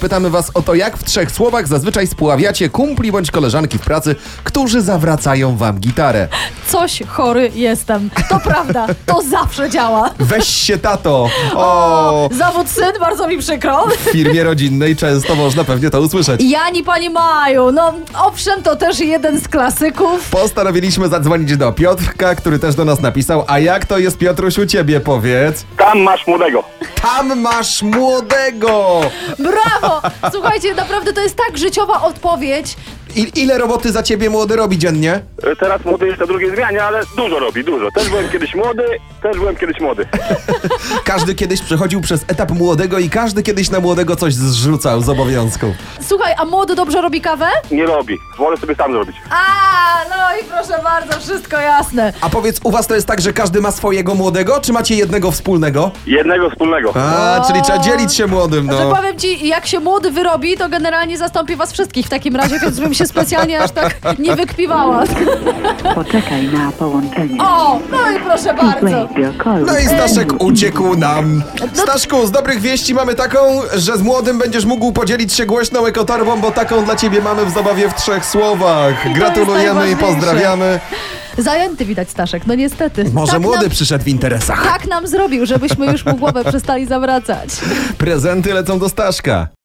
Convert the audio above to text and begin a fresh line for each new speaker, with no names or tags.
Pytamy Was o to, jak w trzech słowach zazwyczaj spławiacie kumpli bądź koleżanki w pracy, którzy zawracają Wam gitarę.
Coś chory jestem. To prawda, to zawsze działa.
Weź się tato! O!
Zawód syn, bardzo mi przykro.
W firmie rodzinnej często można pewnie to usłyszeć.
I Ani pani Maju, no owszem, to też jeden z klasyków.
Postanowiliśmy zadzwonić do Piotrka, który też do nas napisał, a jak to jest Piotruś u Ciebie, powiedz?
Tam masz młodego.
Tam masz młodego!
Brawo! Słuchajcie, naprawdę to jest tak życiowa odpowiedź.
I, ile roboty za Ciebie młody robi dziennie?
E, Teraz młody jest na drugiej zmianie, ale dużo robi, dużo. Też byłem kiedyś młody, też byłem kiedyś młody.
Każdy kiedyś przechodził przez etap młodego i każdy kiedyś na młodego coś zrzucał z obowiązków.
Słuchaj, a młody dobrze robi kawę?
Nie robi. Wolę sobie sam zrobić.
A, no i proszę bardzo, wszystko jasne.
A powiedz, u was to jest tak, że każdy ma swojego młodego, czy macie jednego wspólnego?
Jednego wspólnego.
A,
O.
czyli trzeba dzielić się młodym,
Że
no.
powiem ci, jak się młody wyrobi, to generalnie zastąpi was wszystkich w takim razie, więc bym się specjalnie aż tak nie wykpiwała.
Poczekaj na połączenie.
O, no i proszę bardzo.
Radio Call.
No i Staszek uciekł nam.
No
Staszku, z dobrych wieści mamy taką, że z młodym będziesz mógł podzielić się głośną ekotarbą, bo taką dla ciebie mamy w zabawie w trzech słowach.
jest
Gratulujemy i
najważniejsze.
pozdrawiamy.
Zajęty widać Staszek, no niestety.
Może
tak
młody
Nam,
przyszedł w interesach.
tak nam zrobił, żebyśmy już mu głowę przestali zawracać.
Prezenty lecą do Staszka.